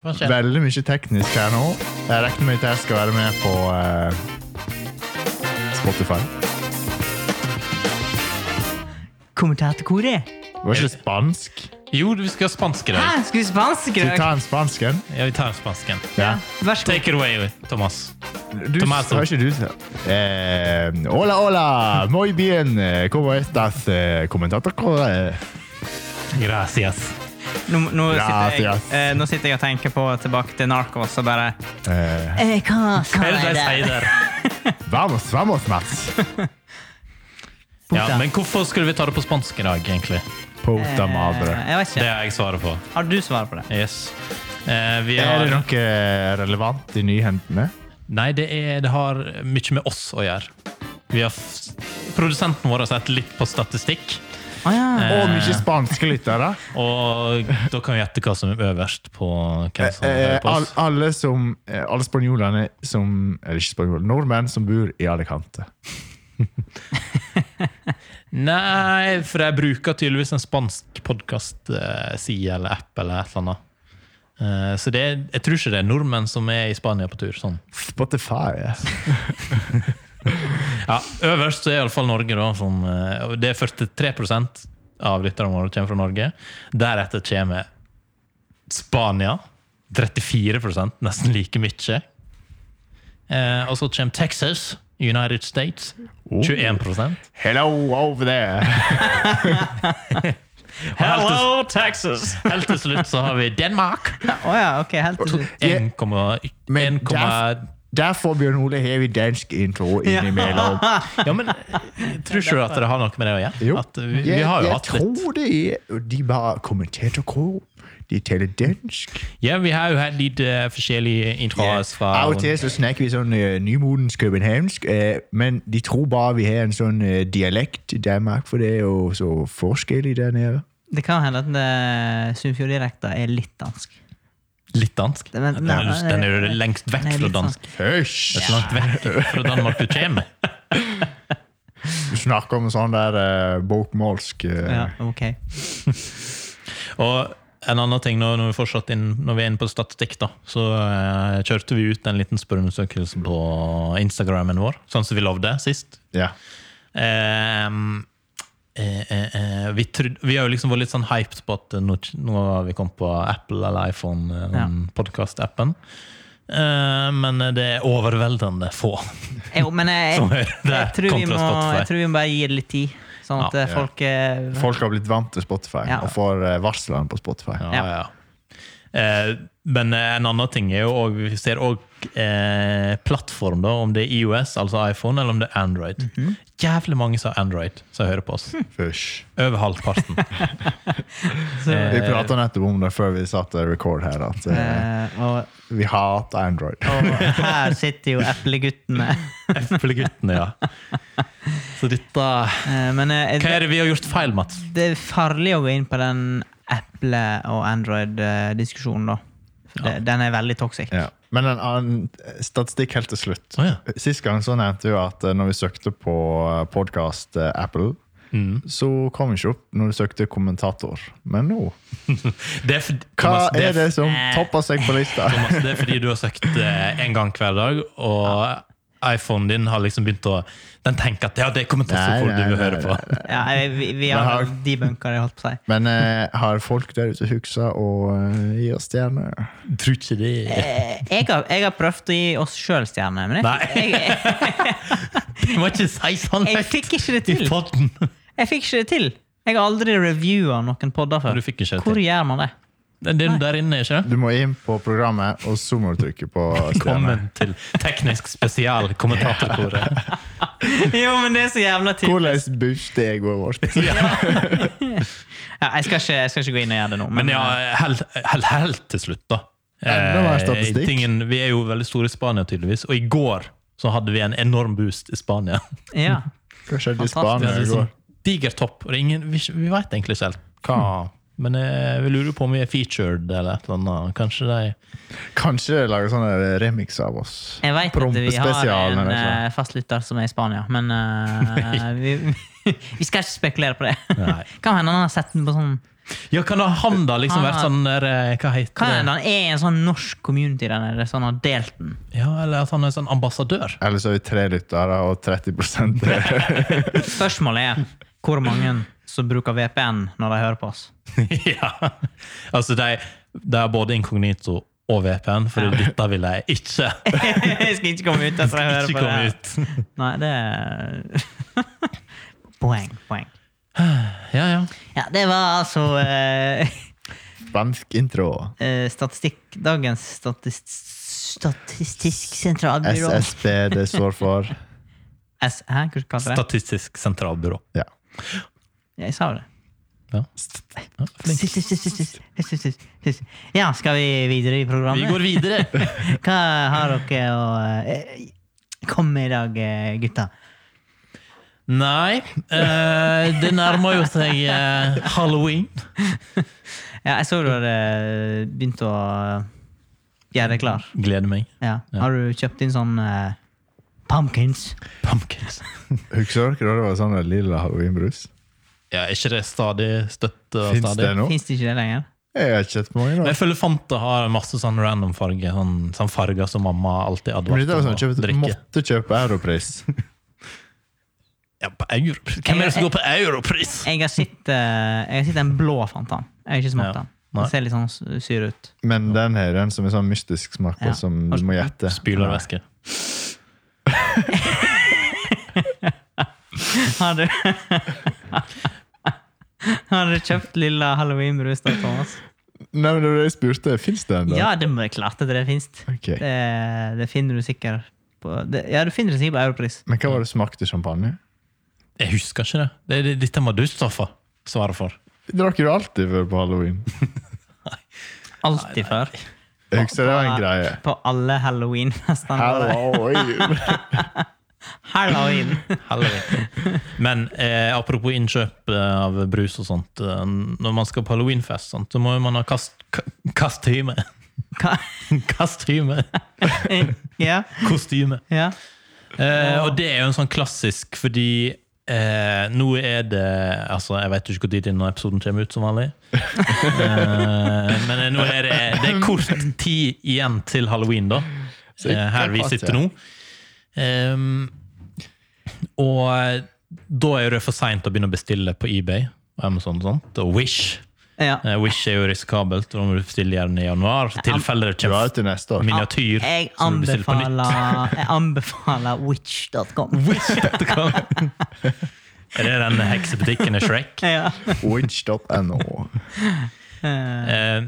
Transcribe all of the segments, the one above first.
Hva skjer? Veldig mye teknisk her nå. Jeg regner med at jeg skal være med på eh, Spotify. Kommentatorkoret. Det var ikke spansk. Jo, vi skal ha spansk i dag. Hæ, skal vi spansk i Skal vi dag? ta en spansk en? Ja, vi tar spansken. Ja. Vær så god. Take it away, Thomas. Du, Tomato. har ikke du eh, Hola, hola! Muy bien! Como estas eh, comentator? Eh, Gracias. Nå, nå, sitter jeg, Gracias. eh, nå sitter jeg og tenker på tilbake til Narcos og bare eh, eh, Hva hva Hva er det er de sier det? der? Vamos, vamos, Mats! Ja, men hvorfor skulle vi ta det på spansk i dag, egentlig? Puta Eh, madre. Jeg vet ikke. Det har jeg svaret på. Har du svar på det? Yes. Eh, vi Er det har, noe relevant i nyhendene? nei, det, er, det har mye med oss å gjøre. Vi har f produsenten vår har sett litt på statistikk, Eh, Å ja. Og mye spanske lyttere. og da kan vi gjette hva som er øverst på hvem som Eh, hører på all, oss. alle som, eh, alle spanjolene som Eller ikke spanjoler, nordmenn som bor i Alicante. Nei, for jeg bruker tydeligvis en spansk podkast-side eller app eller et eller annet. Eh, Så det er, jeg tror ikke det er nordmenn som er i Spania på tur. sånn. Spotify. Ja, Øverst så er iallfall Norge, da. Som, eh, og det er 43 av lytterne våre kommer fra Norge. Deretter kommer Spania. 34 nesten like mye. Eh, og så kommer Texas, United States. 21 Hello over there! Hello, Texas! Helt til slutt så har vi Danmark. Eh, Å ja, ok, helt til slutt. 1,1 Men komma- Derfor, Bjørn Ole, har vi dansk intro innimellom. Ja, men tror ikke du at det har noe med det å gjøre? Jo, At vi, vi jeg, har jo jeg hatt litt tror det er De bare kommenterer hva. De taler dansk. Ja, vi har jo hatt litt eh, forskjellige introer fra Av og til så snakker vi sånn eh, nymodens københavnsk, eh, men de tror bare vi har en sånn eh, dialekt i Danmark, for det er jo så forskjellig der nede. Det kan hende at Sunnfjorddialekta er litt dansk. Litt dansk. Den- den- Den er jo- den er jo lengst vekk den er fra litt sånn- dansk. Hysj! Så langt vekk fra Danmark du kommer. Du snakker om sånn der eh, bokmålsk eh, Ja, ok. Og en annen ting når, når, vi fortsatt inn, når vi er inne på statistikk, da, så eh, kjørte vi ut en liten spørreundersøkelse på Instagrammen vår, sånn som vi lovde sist. ja. Ehm, eh, eh, eh, vi, trodde, vi har jo liksom vært litt sånn hyped på at nå, nå har vi kommet på Apple eller iPhone, eh, den podcast-appen. Eh, men det er overveldende få Jo, men jeg, som jeg, hører det tror vi kontra må, jeg Spotify. tror vi må bare gi det litt tid, sånn at Ja. eh, folk eh, Folk har blitt vant til Spotify Ja. og får eh, varslene på Spotify. Ja, Ja. ja. Eh, men eh, en annen ting er jo og Vi ser òg eh, plattform, da, om det er IOS, altså iPhone, eller om det er Android. Mhm. Jævlig mange som har Android, som hører på Hm. oss. Fysj. Over halvparten. eh, så, Vi prata nettopp om det før vi satte record her, at eh, eh, og, vi hater Android. og her sitter jo epleguttene. Epleguttene, ja. Så dette Hva Eh, Men eh, er det, det vi har gjort feil, Mats? det er farlig å gå inn på den Apple- og Android-diskusjonen, da. For det, Den er veldig toxic. Ja. Men en annen eh, statistikk helt til slutt. Å, ja. Sist gang så nevnte vi at eh, når vi søkte på podkast Apple, så kom vi ikke opp når du søkte kommentator. Men nå Det er, for, Hva Thomas, er det er, som topper seg på lista? Thomas, det er fordi du har søkt eh, en gang hver dag, og iPhonen din har liksom begynt å Den tenker at ja, det kommer til å Nei, se hvor nei, du vil nei, høre nei, på. Ja, jeg- vi, vi Men har har- debunka det, holdt på å si. Men eh, har folk der ute huksa og eh, gi oss stjerner? Tror ikke det. Eh, Jeg har, jeg har prøvd å gi oss sjøl stjerner, men jeg, Nei. jeg, jeg, Du må ikke si sånn jeg fikk ikke det i til. podden. Jeg fikk ikke det til. Jeg har aldri reviewa noen podder før. Du fikk ikke det Hvor til. gjør man det? Det er den der inne, ikke det? Du må inn på programmet, og så må du trykke på stjerner. Velkommen til teknisk spesial kommentatorkoret. jo, men det er så jævla til. Hvordan booste egoet vårt? Ja, jeg, skal ikke, jeg skal ikke gå inn og gjøre det nå. Men ja, helt, helt, helt til slutt, da. Enda mer statistikk. Eh, tingen, vi er jo veldig store i Spania, tydeligvis. Og i går så hadde vi en enorm boost i Spania. eh, ja. Hva skjedde i Vi Spania hadde i går? liksom diger topp. Og det er ingen, vi, vi veit egentlig ikke helt hva Men eh, vi lurer på om vi er featured eller et eller annet. Kanskje de Kanskje de lager sånne remix av oss. Jeg vet at vi har Prompespesialen, en eller altså. noe eh, fastlytter som er i Spania, men eh, vi, vi skal ikke spekulere på det. Nei. Kan hende han har sett den på sånn Ja, kan da han da liksom Han vært har- sånn der eh, Hva heter Kan det? hende han Ah. er en sånn norsk community der nede, så han har delt den. Ja, Eller at han er sånn ambassadør? Ellers har vi tre lyttere og 30 Spørsmålet er hvor mange som bruker VPN når de hører på oss. ja. Altså, de, de har både inkognito og VPN, for dette vil jeg ikke. jeg skal ikke komme ut etter jeg hører på det. Ikke komme her. ut. Nei, det er Poeng, poeng. Ja, ja. Ja, det var altså eh, Spansk intro. eh, statistikk, dagens statist, statistisk sentralbyrå. SSB, det står for. S Hæ, hva kalte det? Statistisk sentralbyrå. Ja. Jeg sa jo det. Ja. Ja, flink. Ja, skal vi videre i Vi programmet? går videre. Hva har dere å eh, komme med i dag, eh, gutta? Nei, eh, det nærmer jo seg eh, halloween. Ja, jeg så du hadde eh, begynt å gjøre deg klar. Gleder meg. Ja. Ja. Har du kjøpt inn sånn eh, pumpkins? Pumpkins. Husker dere da det var sånn lilla halloweenbrus? Ja, er ikke det stadig støtt og Fins det stadig? nå? Fins det ikke det lenger? Jeg har ikke sett på mange Men nå. jeg føler Fanta har masse sånn random farger. Sånn, sånn farger som mamma alltid Men dette advarte var om sånn, å kjøpte, drikke. måtte kjøpe Europris. Ja, på Europris. Hvem er det som går på Europris? Jeg har sett, eh, jeg har sett en blå fantan. Jeg har ikke Ja. smakt den. Nei. Den ser litt sånn s- sur ut. Men den her den som er sånn mystisk smak, Ja. og som du må gjette. Spylervæske. Har du Har du kjøpt lilla halloweenbrus da, Thomas? Nei, men det var det jeg spurte. Fins det ennå? Ja, det må jeg klart at det finnes. Ok. Det, det finner du sikkert på det, Ja, du finner det sikkert på Europris. Men hva var det smakte champagne? Jeg husker ikke det. det, det dette må du stå for. Svare for. Drakk du alltid før på halloween? Alltid før. Jeg husker det var en greie. På alle halloweenfestene. våre. Halloween! Halloween! Halloween. Men eh, apropos innkjøp eh, av brus og sånt. Eh, når man skal på halloweenfest, sånt, så må jo man ha kast, ka- kastyme. Hva? Kastyme. Ja, Kostyme. ja. Eh, og det er jo en sånn klassisk, fordi eh, nå er det Altså, jeg vet jo ikke når denne episoden kommer ut, som vanlig. Eh, men nå er det, det er kort tid igjen til halloween, da. Så eh, her vi ikke sitter pass, nå. Ehm, og da er det for seint å begynne å bestille på eBay og Amazon og sånt, og Wish. ja. Eh, Wish er jo risikabelt, da må du bestille gjerne i januar. I tilfelle det Du har kommer jo til neste år. miniatyr. Jeg som du bestiller på nytt. anbefaler, jeg anbefaler witch.com. Wish.com. Er det den heksebutikken i Shrek? Ja. Witch.no. Eh,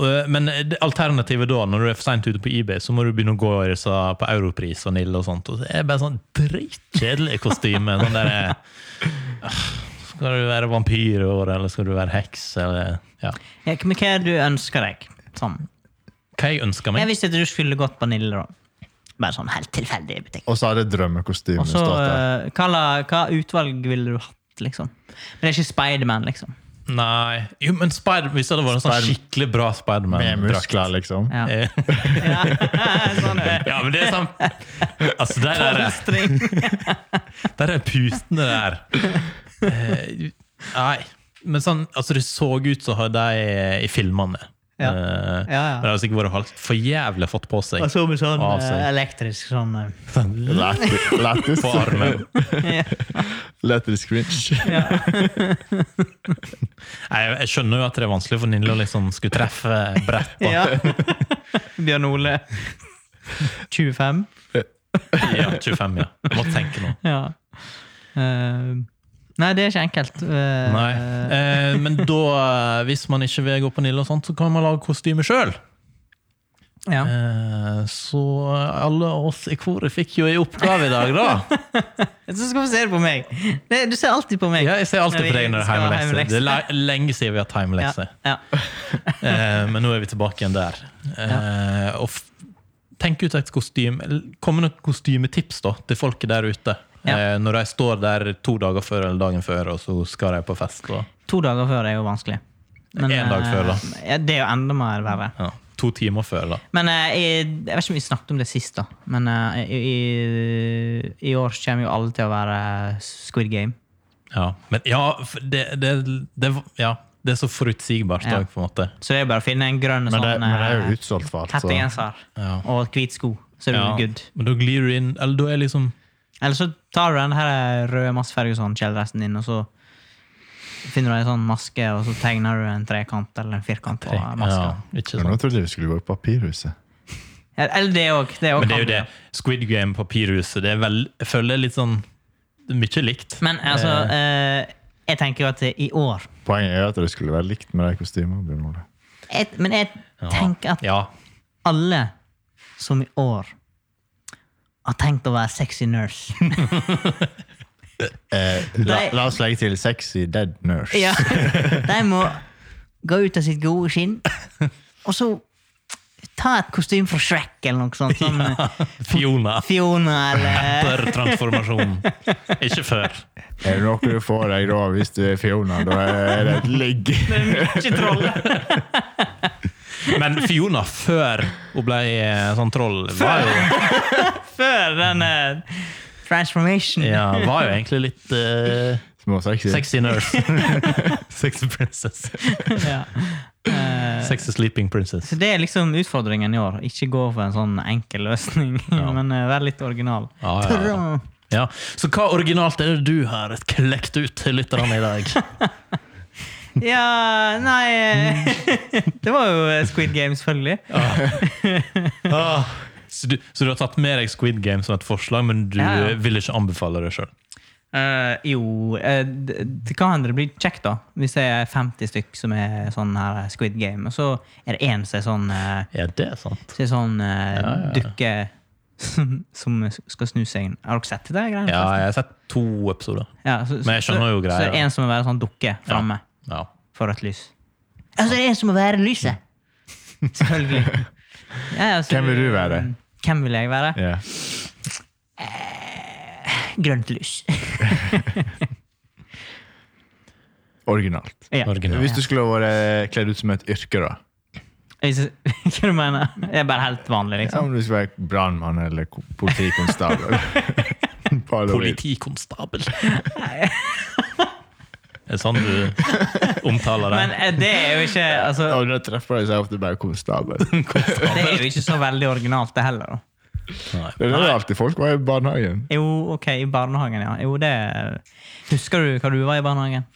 og- men det alternativet da, når du er for seint ute på eBay, så må du begynne å gå i disse på Europris og Nille og sånt. Og det er bare sånn dritkjedelig kostyme. Sånn der, eh, skal du være vampyr i år, eller skal du være heks, eller ja. Ja, men hva er det du ønsker deg? Sånn. Hva jeg ønsker Jeg meg? visste at du skulle gått på Nille, da. Bare sånn helt tilfeldig i butikk. Og så hadde jeg drømmekostyme. Og så, stått der. eh, hva, la- hva utvalg ville du hatt, liksom? Men det er ikke Spiderman, liksom. Nei. Jo, men Spider, hvis det hadde vært en sånn skikkelig bra Med Spiderman-drakt muskler, liksom. eh, Ja. Eh, Ja, sånn er det. Ja, men det er sånn Altså, der er det Polstring. Der er putene der. Eh, nei. Men sånn, altså det så ut som de i filmene. Ja. Eh, Ja, ja. Men det har sikkert vært helt for jævlig fått på seg. Og så med sånn Av eh, seg. elektrisk sånn eh, Lættis- lættis- På armen. Lættis cringe. Nei, Jeg, jeg skjønner jo at det er vanskelig for Nille å liksom skulle treffe brett på. Ja. Bjørn Ole. 25. Ja, 25, ja. Jeg måtte tenke nå. Ja. Eh, nei, det er ikke enkelt. Eh, Nei. eh, Eh, men da, eh, hvis man ikke vil gå på Nille og sånt, så kan man lage kostyme sjøl. ja. Eh, så alle oss i koret fikk jo ei oppgave i dag, da. Så skal vi se det på meg! Det, du ser alltid på meg. Ja, jeg ser alltid på deg når det er Skal ha heimelekse. Det er le- lenge siden vi har hatt Ja, heimelekse. ja. Eh, Men nå er vi tilbake igjen der. Eh, Og f- tenk ut et kostyme. eller Kom med noen kostymetips da, til folket der ute. Ja. Eh, Når de står der to dager før eller dagen før, og så skal de på fest. Og, To dager før er jo vanskelig. En dag eh, før, da. Ja, det er jo enda mer verre. ja, to timer før, da. Men eh, jeg, jeg vet ikke om vi snakket om det sist, da. Men eh, i, i, i år kommer jo alle til å være Squid Game. Ja, Men ja, for det, det, det var- Ja. Det er så forutsigbart Ja. òg, på en måte. Så det er bare å finne en grønn Men det, sånn men det er eh, jo utsolgt for alt. Så. hettegenser Ja. og hvit sko, så er du Ja. good. Men da glir du inn Eller da er liksom Eller så tar du den her røde Mads Ferguson-kjeledressen din, og så finner du en sånn maske, og så tegner du en trekant eller en firkant på ja, maska. ikke Men nå sant. trodde jeg vi skulle gå i Papirhuset. Ja. Eller det òg. Det òg Men det er kan jo det. du. Squid Game, Papirhuset, det er vel Jeg føler det er litt sånn det er Mye likt. Men altså, eh, jeg tenker jo at i år Poenget er at det skulle være likt med de kostymene. Bjørn Ole. jeg, Men jeg tenker at Ja. alle som i år har tenkt å være sexy nurse Eh, La, Nei. la oss legge til sexy dead nurse. Ja. De må gå ut av sitt gode skinn, og så ta et kostyme fra Shrek eller noe sånt. Sånn Fiona. Fiona eller Etter transformasjonen. Ikke før. Er det noe du får deg da hvis du er Fiona? Da er det et ligg. Ikke trollet. Men Fiona før hun ble eh, sånn troll, var jo Før den eh, transformation. Ja, var jo egentlig litt eh, Små sexy. sexy nurse. sexy princess. Ja. Eh, Sexy sleeping princess. så det er liksom utfordringen i år. Ikke gå for en sånn enkel løsning, Ja. men eh, vær litt original. Ja, ja, ja. Ja. Så hva originalt er det du har klekt ut til lytterne i dag? Ja, nei eh, Det var jo eh, Squid Game, selvfølgelig. Ah, så, du, så du har tatt med deg Squid Game som et forslag, men du Ja, ja. vil ikke anbefale det sjøl? Eh, jo eh, d- Det kan hende det blir kjekt, da. Hvis det er 50 stykk som er sånn her Squid Game, og så er det én som er sånn eh, Ja, det er sant. Så det er sånn eh, Ja, ja, ja. dukke som, som skal snu seg. Har dere sett det? greiene? Ja, jeg har sett to episoder. Ja, så, Men jeg skjønner jo så- Så er det greia. en som må være sånn dukke framme Ja. for rødt lys. Altså, det er en som må være lyset! Selvfølgelig. Ja, ja, så- Hvem vil du være? Hvem vil jeg være? Ja. Grønt lys. Originalt. ja. Original. Hvis du skulle vært eh, kledd ut som et yrke, da? Hvis jeg- Hva du mener du? Det er bare helt vanlig, Ja, liksom. om du skulle være brannmann eller ko- politikonstabel. På Halloween. Politikonstabel. Er det sånn du omtaler det? Men eh, det er jo ikke altså, Og når jeg treffer deg, så er jeg ofte bare konstabel. Det er jo ikke så veldig originalt, det heller. da. Nei. Det er det alltid folk var i barnehagen. Jo, ok, i barnehagen, ja. Jo, det Husker du hva du var i barnehagen?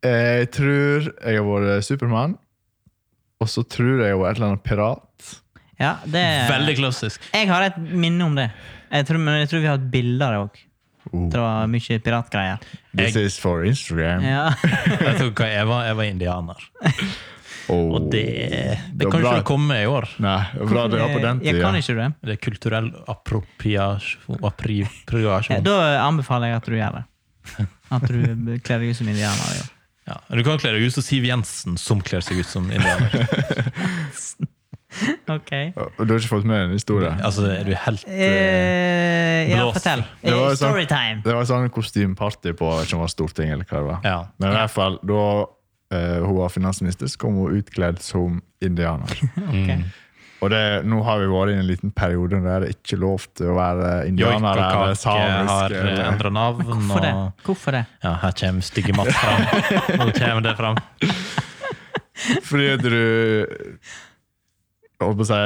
Eh, Jeg tror jeg har vært Supermann, og så tror jeg jeg var et eller annet pirat. Ja, det Veldig klassisk. Jeg har et minne om det. Jeg tror, men jeg tror vi har et bilde av det òg. Oh. Det var mye piratgreier. This Jeg- is for Instagram. Ja. Jeg tror hva jeg var, jeg var indianer. Oh. Og det, Det det var bra. kan ikke det komme i år. Nei, det var bra det var på den Jeg tida. kan ikke det. Det er kulturell appropriasjon. Ja, appropriasjon. Da anbefaler jeg at du gjør det. At du kler deg ut som indianer. i år. Ja. Du kan kle deg ut som Siv Jensen, som kler seg ut som indianer. Ok. Og du har ikke fått med den historien? Altså, er du helt eh, Eh, ja, Blås. fortell. Det var Eh, jo sånn- Storytime. Det var sånn kostymeparty på jeg vet ikke om det var Stortinget eller hva det var. Ja. Men i hvert fall, da eh, hun var finansminister, så kom hun utkledd som indianer. Ok. Og det, nå har vi vært i en liten periode der det ikke er lov til å være indianer Joikakake eller eh, har eh, samisk. eh, Eller. endra navn. Hvorfor det? Og, Hvorfor det? ja, her kommer stygge Mats fram. Nå kommer det fram. Fordi at du holdt på å si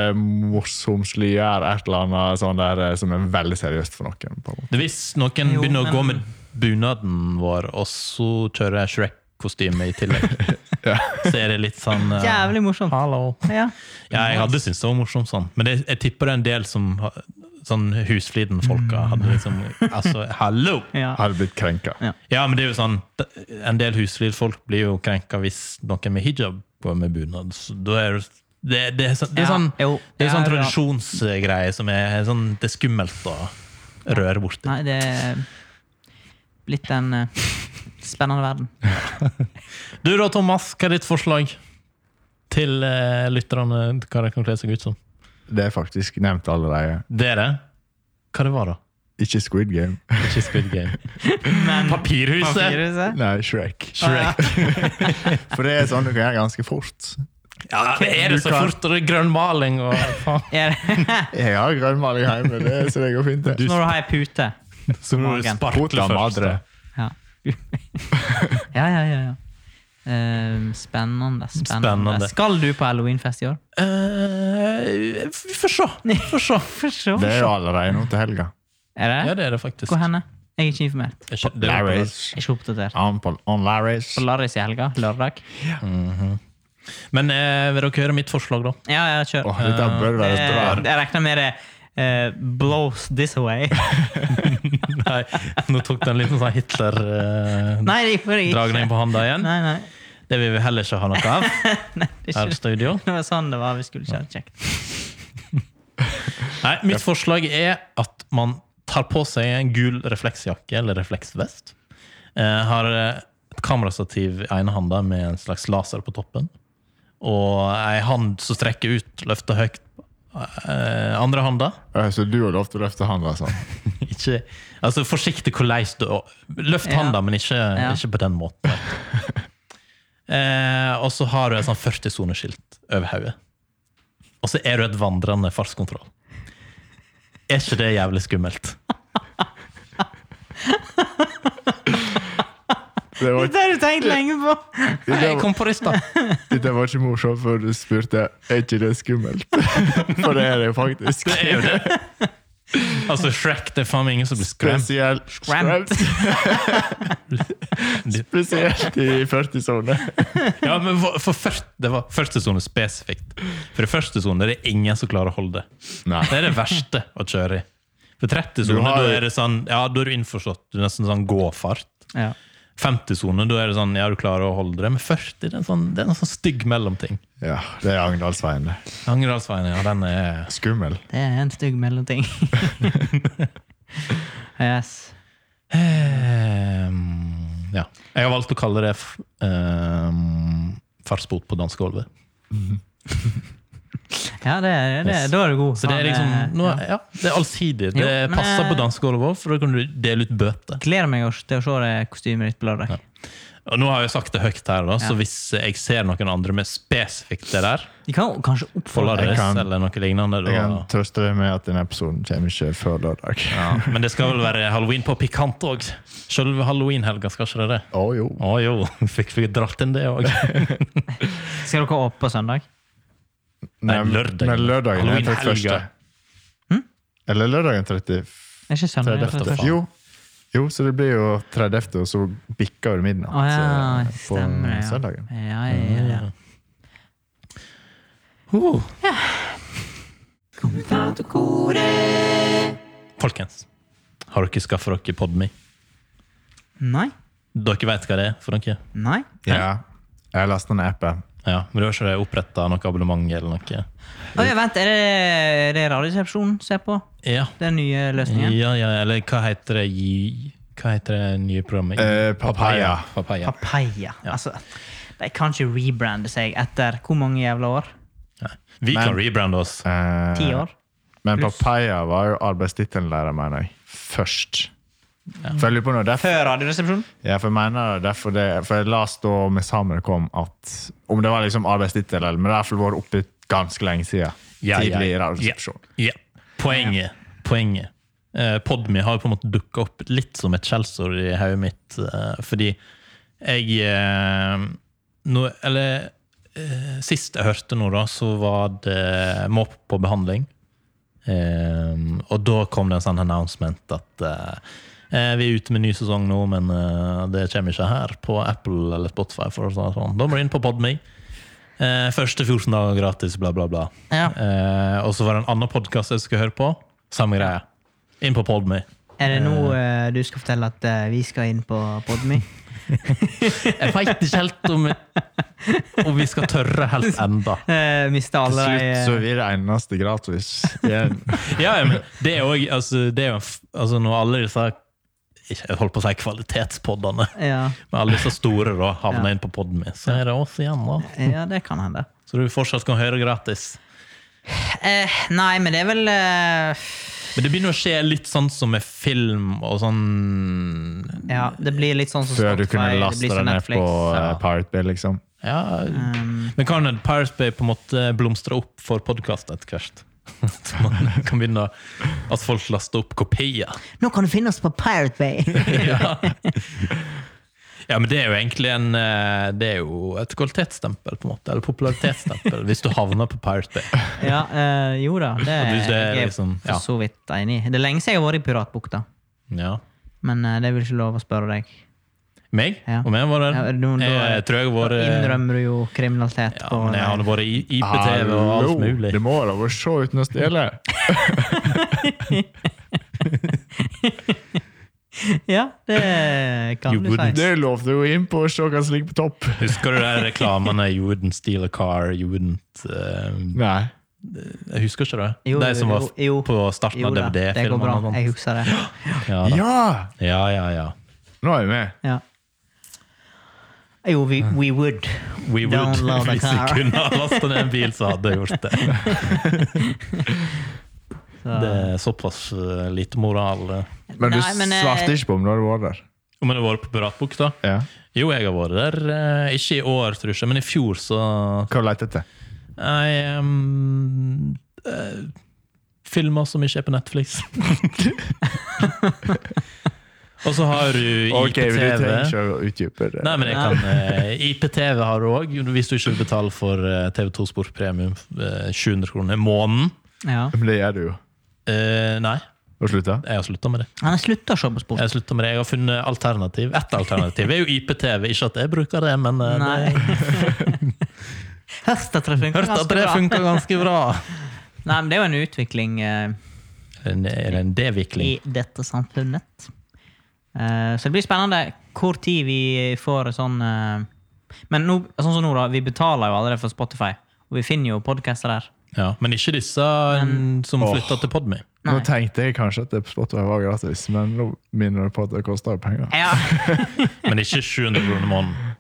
morsomsliggjør et eller annet sånn der, eh, som er veldig seriøst for noen. på en måte. Det Hvis noen Jo, begynner å gå men- med bunaden vår, og så kjører jeg Shrek-kostyme i tillegg, så er det litt sånn eh, Jævlig morsomt. Hallo. Ja. Ja, jeg hadde syntes det var morsomt sånn, men det, jeg tipper det er en del som ha- Sånn Husfliden-folka hadde Mm. liksom Altså, hallo! Ja. Har blitt krenka. Ja. Ja, men det er jo sånn d- En del Husflid-folk blir jo krenka hvis noen med hijab går med bunad. Så da er det, det, det, er sånn, det er sånn, Ja, jo. det er Ja, sånn ja. tradisjonsgreie som er sånn Det er skummelt å røre borti. Nei, det er blitt en eh, spennende verden. Du da, Thomas, hva er ditt forslag til eh, lytterne? Hva de kan kle seg ut som? Det er faktisk nevnt allerede. Det er det. Hva det var da? Ikke Squid Game. Ikke Squid Game. Men Papirhuset! Papirhuset? Nei, Shrek. Shrek. For det er sånn du kan gjøre ganske fort. Ja, det er det så fort, og det er grønn maling og faen. Er det Jeg har grønnmaling hjemme, det, så det går fint. det. når du har ei pute? Så må du Magen. sparkle Puta først. madre. da. Ja. ja, ja, ja. ja. Eh, spennende, spennende. Spennende. Skal du på halloweenfest i år? Eh, vi får se. Vi får se. Det er jo allerede nå til helga. Er det? Ja, det er det faktisk. Hvor henne? Jeg er ikke informert. Det er ikke- det er jo Larrys. Jeg er ikke oppdatert. On, på- on Larrys. På Larris i helga? Lørdag? på- Men eh, vil dere høre mitt forslag, da? Ja, ja, kjør. Åh, dette bør Eh, være bra. jeg regner med det eh, blows this away. Nei, nå tok den liten sånn eh, Hitler-dragning nei, det gjorde jeg ikke. på handa igjen. Nei, nei. Det vil vi heller ikke ha noe av Det, er her i ikke, studio. det var sånn det var. Vi skulle ikke ha det kjekt. Nei, mitt forslag er at man tar på seg en gul refleksjakke eller refleksvest. Eh, har eh, et kamerastativ i ene handa med en slags laser på toppen. Og ei hand som strekker ut, løfter høyt. Eh, andre handa. Eh, Så du har lov til å løfte hånda sånn. Ikke, altså forsiktig hvordan du Løft Ja. handa, men ikke, Ja. ikke på den måten. vet du. Eh, og så har du et sånn 40-soneskilt over hodet. Og så er du et vandrende fartskontroll. Er ikke det jævlig skummelt? Det var, Det har du tenkt lenge på! det Jeg var, kom på det i stad. det var ikke morsomt før du spurte er ikke det skummelt. For det er det jo faktisk. Det er jo det. Altså, Shrek, det er faen meg ingen som blir skremt. Spesielt, Skremt. spesielt i 40-sone. Ja, men for, for først, Det var første sone spesifikt. For i første sone er det ingen som klarer å holde det. Nei. Det er det verste å kjøre i. For 30 Du soner, har- da er det sånn, ja, da er du innforstått. Du er nesten sånn gåfart. Ja. 50 soner, da er det sånn, ja, du klarer å holde det. Men 40, det er en sånn, det er en sånn stygg mellomting. Ja, det er Agndalsveien. det. Angerdalsveien, ja, den er Skummel. Det er en stygg mellomting. yes. Ehm, Ja. Jeg har valgt å kalle det f- ehm, fartsbot på danskegulvet. Ja, det, er- det, er- da er du god. Så det er liksom, nå, ja, det er allsidig. Det Ja, men, passer eh, på danskegulvet òg, for da kan du dele ut bøter. Gleder meg også til å se det kostymet ditt på lørdag. Og nå har jeg sagt det høyt her, da, så Ja. hvis jeg ser noen andre med spesifikt det der, De kan jo kanskje på oppfordre Ladris kan- eller noe lignende Jeg kan da, trøste deg med at denne episoden kommer ikke før lørdag. Å Men det skal vel være halloween på pikant òg? Selve halloweenhelga, skal ikke det det? jo. Å jo, fikk vi dratt inn det òg? Skal dere opp på søndag? Nei, men- lørdagen. Men lørdagen er Halloween-helga. 31. Hm? Eller lørdagen 30. Er ikke søndag? det er 30. første? Jo. jo, så det blir jo 30., og så bikker det midnatt Å ja, eh, på stemmer det. Ja. søndagen. Ja, ja, ja, ja. Uh. Mm. Folkens, har dere skaffa dere Podme? Nei? Dere vet hva det er for noe? Nei? Ja. Jeg lasta ned appen. Ja, men du har ikke oppretta noe abonnement eller noe? Å ja, vent, er det, er det Radioresepsjonen som er på? Ja. Den nye løsningen? ja, ja, eller hva heter det gi- Hva heter det nye programmet? Eh, Papaya. Papaya. Papaya. Altså, de kan ikke rebrande seg etter hvor mange jævla år? Nei. Vi Men- kan rebrande oss. Eh, Ti år? Men Papaya var jo arbeidstittelen deres, mener jeg. Først. For jeg lurer på noe derfor Før Radioresepsjonen? Ja, for jeg mener det, derfor det, for jeg las da med sammen kom at om det var liksom arbeidstittel, eller men det har i hvert fall vært oppe ganske lenge siden. Ja, ja, tidlig i ja. radioresepsjon. Ja. Poenget. Poenget. Eh, Podme har jo på en måte dukka opp litt som et skjellsord i hodet mitt, eh, fordi jeg eh, nå, Eller eh, sist jeg hørte noe, da, så var det mopp på behandling. Eh, og da kom det en sånn announcement at eh, eh, vi er ute med ny sesong nå, men eh, det kommer ikke her på Apple eller Spotify. For å si det sånn. Da må du inn på Podme. Eh, første 14 dager gratis, bla, bla, bla. Ja. Eh, og så var det en annen podkast jeg skulle høre på. Samme greie. Inn på Podme. Er det nå eh, du skal fortelle at eh, vi skal inn på Podmy? Jeg veit ikke helt om, om vi skal tørre helt enda. Uh, Mista Til alle de slutt så eh, blir det eneste gratis igjen. Ja, ja, men det er jo også- altså, det er jo en f- altså, Når alle disse ikke- jeg holdt på å si kvalitetspoddene, eh, ja. men alle disse store da havner Ja. inn på Podme, så er det oss igjen, da. ja, det kan hende. Så du fortsatt kan høre gratis. Eh, nei, men det er vel eh, Men det begynner å skje litt sånn som med film og sånn Ja, det blir litt sånn som Før du Spotify, kunne det laste blir det som ned Netflix, Um, på ja. eh, Pirate Bay, liksom. Ja, Men kan et Pirate Bay på en måte blomstre opp for podkast etter hvert? At man kan begynne å- at folk laster opp kopier. Nå kan du finne oss på Pirate Bay! Ja. Ja, men det er jo egentlig en eh, Det er jo et kvalitetsstempel, på en måte. Eller popularitetsstempel, hvis du havner på Pirate Bay. Ja, eh, jo da, det Og hvis det er er jeg liksom- ja. for så vidt enig i. Det er lenge siden jeg har vært i Piratbukta, Ja. men eh, det vil ikke lov å spørre deg. Meg? Ja. Om jeg var der? Ja, nå- da- jeg tror jeg var eh, Da innrømmer du jo kriminalitet. ja, på men jeg hadde vært i IPTV og Hallo, alt mulig. Det må da være så uten å stjele. Ja, det kan You du wouldn't. si. Det lovte jo inn på å se hva som ligger på topp. Husker du de reklamene 'You wouldn't steal a car', 'You wouldn't eh, Nei. Jeg husker ikke det? Jo, de som var jo, jo. på starten Jo av da, det går bra. DVD-filmene? Jeg husker det. sånn. Ja, da. Ja! ja, ja, ja. Nå er jeg med. Ja. Jo, we, we would. We would, Download a hvis jeg car. kunne ha lasta ned en bil, så hadde jeg gjort det. Så- Det er såpass eh, lite moral. eh. Men du Nei, men, eh, svarte ikke på om du hadde vært der. Om jeg har vært på Piratbukta? Ja. Jo, jeg har vært der. eh, Ikke i år, tror jeg, ikke, men i fjor så Hva lette du etter? Jeg um, eh, Filmer som ikke er på Netflix. Og så har du Ok, men du IPTV. trenger ikke å utdype det. Nei, men jeg kan eh, IPTV har du òg, hvis du ikke vil betale for eh, TV2 Sport Premium. eh, 700 kroner i måneden. Ja. Men det gjør du jo. Eh, nei, Og slutta? jeg har slutta med det. Han har slutta å se på sport. Jeg har sluttet med det. Jeg har funnet alternativ. Ett alternativ er jo IPTV. Ikke at jeg bruker det, men eh, Nei. det, Hørt at det funker hørte at det funker ganske bra. Nei, men det er jo en utvikling eh, En- Er det en i D-vikling? dette samfunnet. Eh, så det blir spennende hvor tid vi får sånn eh, Men nå, sånn som nå, da. Vi betaler jo allerede for Spotify, og vi finner jo podcaster der. Ja, men ikke disse mm, som Åh. flytta til Podme. Nå Nei. tenkte jeg kanskje at det på Spotify var gratis, men nå minner du på at det koster penger. Ja. Men ikke 700 kroner i måneden.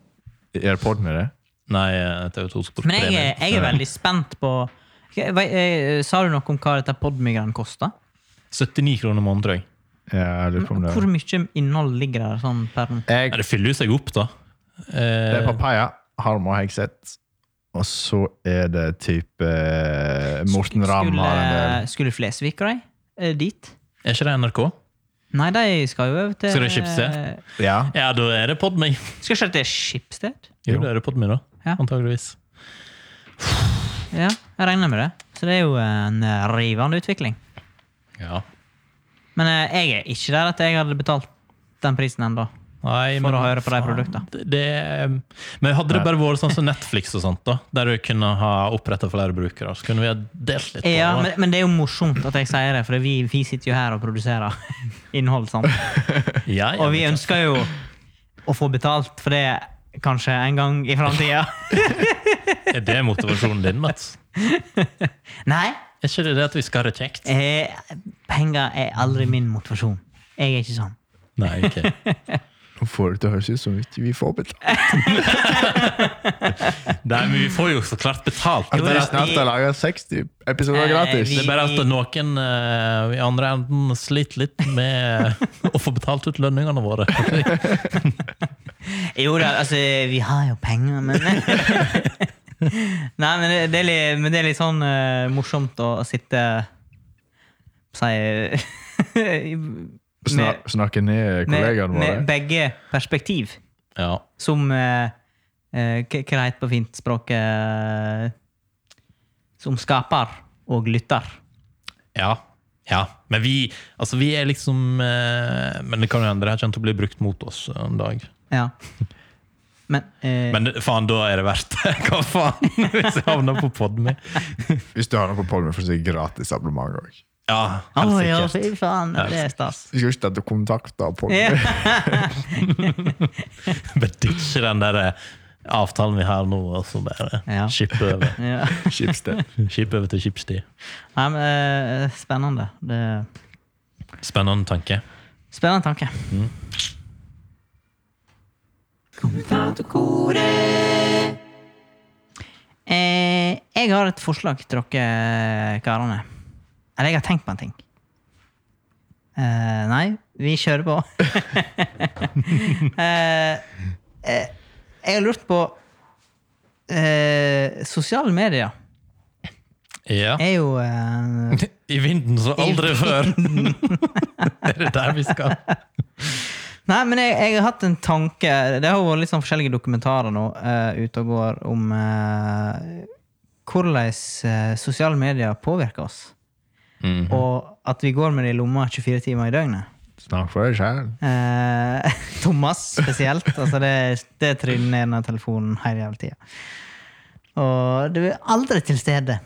Gjør pod med det? Nei, eh, TV2 Sport Men jeg, Premium. er- jeg er veldig spent på Hva- hva- eh, Sa du noe om hva dette podmigran koster? 79 kroner i måneden, tror jeg. Ja, jeg lurer på om det Hvor mye innhold ligger der sånn per Ja, jeg, det fyller jo seg opp, da. Det er Eh, papaya, Harm og Hegseth. Og så er det type eh, Morten Ramm har en del. Skulle, skulle Flesvig og de eh, dit? er ikke det NRK? Nei, de skal jo over til Skal de Schibsted? eh, Ja. Ja, da er det Podme. Skal ikke det til Schibsted? Jo, Jo. det er det Podme, da. Ja. Antageligvis. Ja, jeg regner med det. Så det er jo en eh, rivende utvikling. Ja. Men eh, jeg er ikke der at jeg hadde betalt den prisen ennå. Nei, For å høre på de produktene. Det, det- men hadde det bare vært sånn som Netflix og sånt, da, der du kunne ha oppretta flere brukere, så kunne vi ha delt litt på Ja, det. men, men det er jo morsomt at jeg sier det, for vi, vi sitter jo her og produserer innhold sammen. Ja, ja, Og vi ønsker jo å få betalt for det kanskje en gang i framtida. Er det motivasjonen din, Mats? Nei, Er ikke det det at vi skal ha det kjekt? eh, penger er aldri min motivasjon. Jeg er ikke sånn. Nei, ok. Nå får det til å høres ut som ikke vi får betalt. Nei, men vi får jo så klart betalt. At de Jo, Det er bare ja. at, snart har laga 60 episoder Eh, gratis! vi- det er bare at noen eh, i andre enden sliter litt med å få betalt ut lønningene våre. Jo da, altså, vi har jo penger, men Nei, men det, det, er, litt, men det er litt sånn eh, morsomt å, å sitte Si Snak, Med, snakke ned med, kollegaene med våre. begge perspektiv, Ja. som eh, eh, Hva hva det heter på fint språk eh, Som skaper og lytter. Ja. ja. Men vi, altså, vi er liksom eh, Men det kan jo hende det her kommer til å bli brukt mot oss en dag. Ja. Men, eh, Men det- faen, da er det verdt det. Hva faen? Hvis jeg havner på Podme. Hvis du har noe på Polmen, får du sikkert gratis abonnement òg. Ja, Å helt ja, sikkert. fy faen! Det er stas. Vi skal ikke sette kontakter på Ja. Podme. Bare ditche den der eh, avtalen vi har nå, og så bare Ja. shippe over. Ja. Schibsted. Shippe over til Schibsted. Nei, men eh, spennende. Det Spennende tanke. Spennende tanke. Eh, jeg har et forslag til dere karene. Eller jeg har tenkt på en ting. Eh, nei, vi kjører på. eh, eh, jeg har lurt på eh, Sosiale medier Ja. er jo eh, I vinden som aldri I før! er det der vi skal? Nei, men jeg, jeg har hatt en tanke Det har jo vært litt sånn forskjellige dokumentarer nå eh, ute og går om eh, hvordan eh, sosiale medier påvirker oss. Mm. Og at vi går med det i lomma 24 timer i døgnet. Snakk for deg sjæl. Eh, Thomas spesielt. altså det, det tryner ned denne telefonen hele jævla tida. Og du er aldri til stede.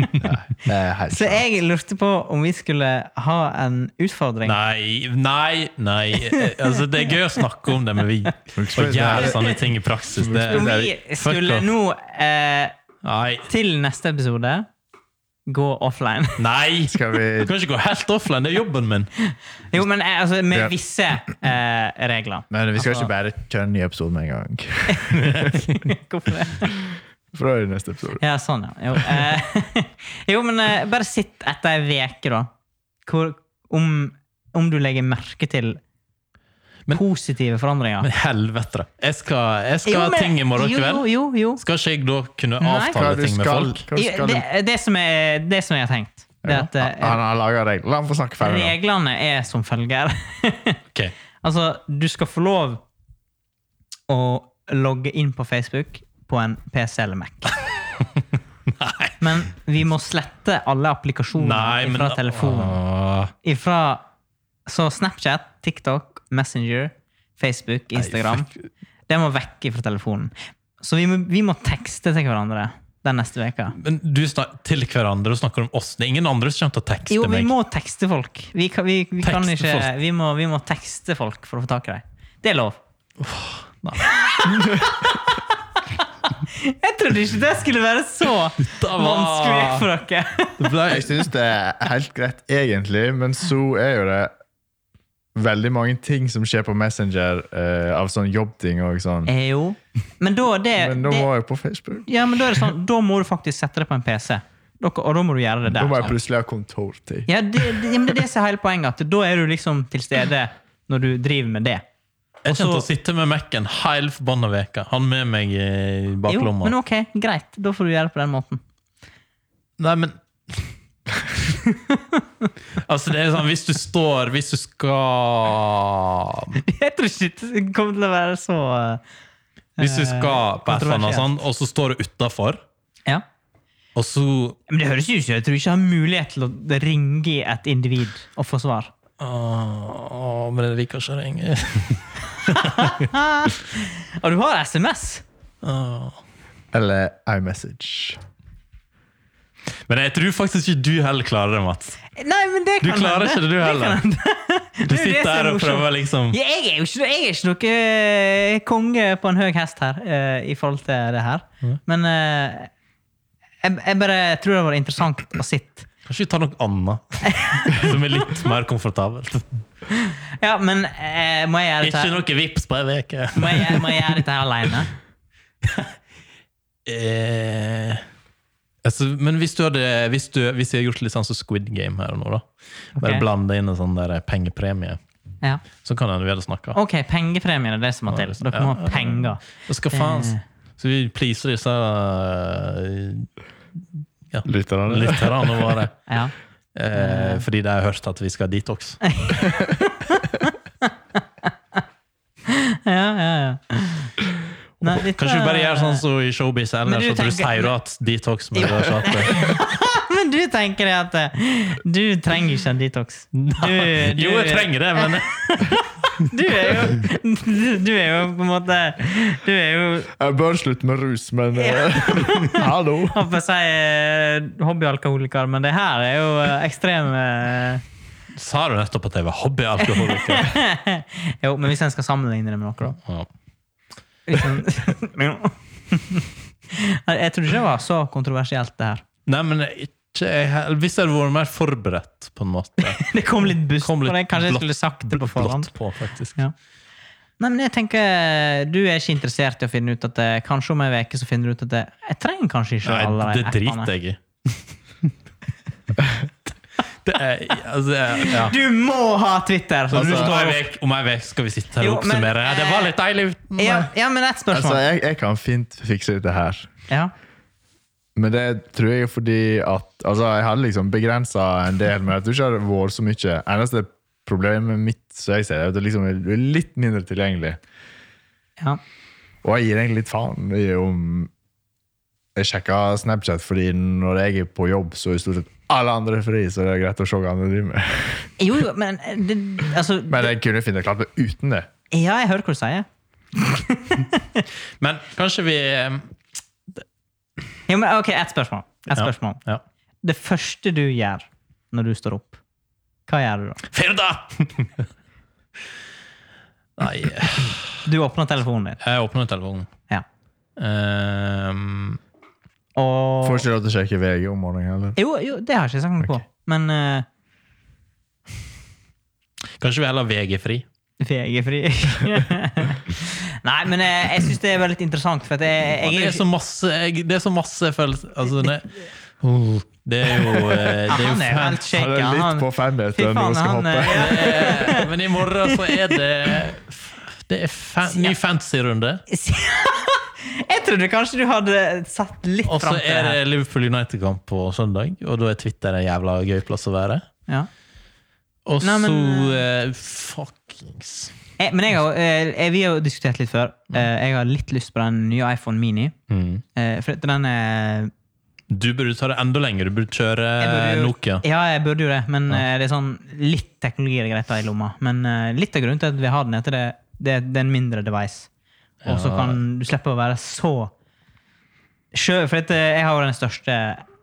Eh, Så jeg lurte på om vi skulle ha en utfordring. Nei, nei, nei. Eh, Altså, det er gøy å snakke om det, men vi å gjøre sånn. sånne ting i praksis det, Om det, vi fuck skulle off. nå eh, Nei. til neste episode gå offline. nei. Du Skal vi kan ikke gå helt offline, det er jobben min. Jo, men eh, altså, med Ja. visse eh, regler. Men vi skal Altså- ikke bare tønne i episoden med en gang. Hvorfor det? For da er det neste episode. Ja, sånn, ja. Jo, eh, jo men eh, bare sitt etter ei veke da. Hvor, om, om du legger merke til Men- positive forandringer. Men helvete. Jeg skal, jeg skal Jo, ha men- ting i morgen kveld. Jo, jo, jo. Skal ikke jeg da kunne Nei. avtale ting med folk? hva Jo, skal du- Det, det, som er, det som jeg har tenkt, det er at eh, Ah, Han har laga regler. La ham få snakke ferdig. nå. reglene er som følger. Ok. Altså, du skal få lov å logge inn på Facebook på en PC eller Mac. Men vi må slette alle applikasjoner Nei, men fra telefonen. Åh. Ifra, så Snapchat, TikTok, Messenger, Facebook, Instagram. Det må vekk fra telefonen. Så vi må, vi må tekste til hverandre den neste veka. Men du snak, til hverandre og snakker om oss. Det er ingen andre som kommer til å tekste Jo, vi meg. må tekste folk. Vi kan, vi, vi kan Tekste ikke folk. vi må, vi må tekste folk for å få tak i dem. Det er lov. Jeg trodde ikke det skulle være så var- vanskelig for dere. Det ble, Jeg syns det er helt greit, egentlig, men så er jo det veldig mange ting som skjer på Messenger eh, av sånn jobbting og sånn. Eh, Jo. Men da, det, Men da Eh, det, må jeg på Facebook. ja, men da er det sånn, da må du faktisk sette det på en PC. Dere, og da må du gjøre det Da der. må jeg plutselig ha kontortid. Ja, det, det, ja, men det er det som er hele poenget. At da er du liksom til stede når du driver med det. jeg kommer til å så- sitte med Mac-en hele forbanna veka. Han med meg i Jo, baklomma. men ok, greit. Da får du gjøre det på den måten. Nei, men Altså, det er sånn, hvis du står Hvis du skal Jeg tror ikke det kommer til å være så eh, Hvis du skal på et eller Kontroversielt. annet sånt, og så står du utafor, eh, Ja. og så Men det høres jo ut som jeg tror ikke jeg har mulighet til å ringe et individ og få svar. Åh, men jeg liker ikke å ringe. Og du har SMS! Åh. Eller iMessage. Men jeg tror faktisk ikke du heller klarer det, Mats. Nei, men det Du kan klarer hende. ikke det, du heller. er Du jo det sitter som er her og morsomt. prøver liksom Ja, Jeg er jo ikke, jeg er ikke noe eh, konge på en høy hest her eh, i forhold til det her. Men eh, jeg, jeg bare tror det hadde vært interessant å sitte. Kanskje vi tar noe annet som er litt mer komfortabelt. Ja, men eh, må jeg gjøre dette Ikke her? noe vips på ei uke. Må jeg, må jeg gjøre dette her alene? Eh, altså, men hvis du hadde hvis, du, hvis jeg hadde gjort litt sånn som Squid Game her og nå, da. Bare Ok. blande inn en sånn der pengepremie, Ja. så kan hende vi hadde snakka. Ok, pengepremien er det som må til. Dere må ha penger. Skal faen Det- Så vi pleaser disse eh, Lytterne. lytterne våre. Ja. Eh, fordi de har hørt at vi skal detox. Ja, ja, ja. Nei, dette- Kanskje vi bare gjør sånn som i Showbiz Men ellers, du at du tenker- sier jo at detox men du har ikke hatt det. Men du tenker det at eh, du trenger ikke en detox. Du, du, Jo, jeg trenger det, men du er jo Du er jo på en måte Du er jo Jeg bør slutte med rus, men eh, Hallo! jeg holdt på å si eh, hobbyalkoholiker, men det her er jo eh, ekstrem eh, Sa du nettopp at jeg var hobbyalkoholiker? Jo, men hvis en skal sammenligne det med noe, da. Ja. Hvis en, Jo. Nei, jeg trodde ikke det var så kontroversielt, det her. Nei, men ikke jeg heller. Hvis jeg hadde vært mer forberedt, på en måte. Det kom litt buss Kom litt på det. Kanskje jeg blått- skulle sagt det på bl- forhånd. blått på, faktisk. Ja. Nei, men jeg tenker Du er ikke interessert i å finne ut at det, kanskje om en uke så finner du ut at det, jeg trenger kanskje ikke alle Nei, de det driter jeg i. Det er altså, jeg- ja. Du må ha Twitter! altså, du om står- ei vek- Om ei uke skal vi sitte her og Jo, men, eh, oppsummere. Ja, det var litt deilig! ja, ja, men ett Altså, spørsmål. jeg, jeg kan fint fikse dette her. Ja. Men det tror jeg er fordi at Altså, jeg hadde liksom begrensa en del, men jeg tror ikke det har vært så mye. Eneste Problemet mitt så jeg ser, er at det liksom er litt mindre tilgjengelig. Ja. Og jeg gir egentlig litt faen i om jeg sjekker Snapchat, fordi når jeg er på jobb, så er stort sett alle andre fri, så det er greit å se hva andre driver med. Jo, jo, men det, altså, Men jeg kunne finne klart meg uten det. Ja, jeg hører hva du sier. Men kanskje vi ehm, Jo, men, ok, Ett spørsmål. Et Ja. spørsmål. ja. Det første du gjør når du står opp, hva gjør du da? Firda! Nei, jeg Du åpner telefonen din. åpner telefonen. Ja. Ehm, Og Får ikke lov til å sjekke VG om morgenen heller. jo, jo, det har jeg ikke sagt noe på. Men eh, kanskje vi heller har VG-fri. VG-fri Nei, men eh, jeg syns det er veldig interessant, for at jeg, Ja, jeg det er så masse jeg, Det er så masse følelser altså, det, oh, det er jo eh, Det er jo Han er jo helt fælt. Han shaken. er litt på Fy femmeteren faen, når hun skal han hoppe. eh, ja. Eh, Men i morgen så er det Det er fa ny fantasy-runde. eh, Jeg trodde kanskje du hadde satt litt Og så fram til det er her. det Liverpool United-kamp på søndag, og da er Twitter en jævla gøy plass å være. Ja. Og Nei, så men, eh, Fuckings Jeg, men jeg har, eh, jeg, vi har jo diskutert litt før. Eh, Jeg har litt lyst på den nye iPhone Mini. Eh, For at den er Mm. Du burde ta det enda lenger. Du burde kjøre Jeg burde jo- Nokia. Ja, jeg burde jo det, men eh, det er sånn litt teknologi er greit å ha i lomma. Men eh, litt av grunnen til at vi har den, er at det, det, det er en mindre device. Og så kan du slippe å være så sjø, For at, eh, jeg har jo den største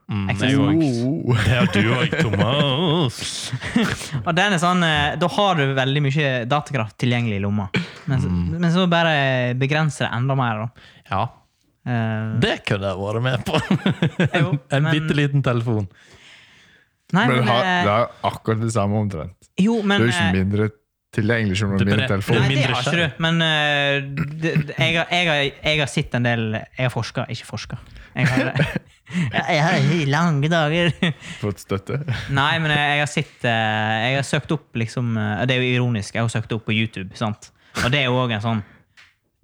Mm, Xboxen. jeg òg. Oh, oh. Det har du òg, Thomas. Og den er sånn, eh, da har du veldig mye datakraft tilgjengelig i lomma. Men, så- Mm. men så bare begrenser det enda mer, da. Ja, Eh, det kunne jeg vært med på. Jo, en men- bitte liten telefon. nei, Men men, det har- eh, det er akkurat det samme omtrent. Jo, men Det er jo ikke eh, mindre tilgjengelig som en Det er mindre bare- telefon. det Nei, det mindre har ikke skjerm. du. Men eh, det, det, jeg, har- jeg, har- jeg har sett en del Jeg har forska, ikke forska. Jeg har, jeg, jeg har i lange dager. Fått støtte. Nei, men jeg, jeg har sett eh, Jeg har søkt opp liksom eh, Det er jo ironisk. Jeg har søkt opp på YouTube. sant? Og det er jo òg en sånn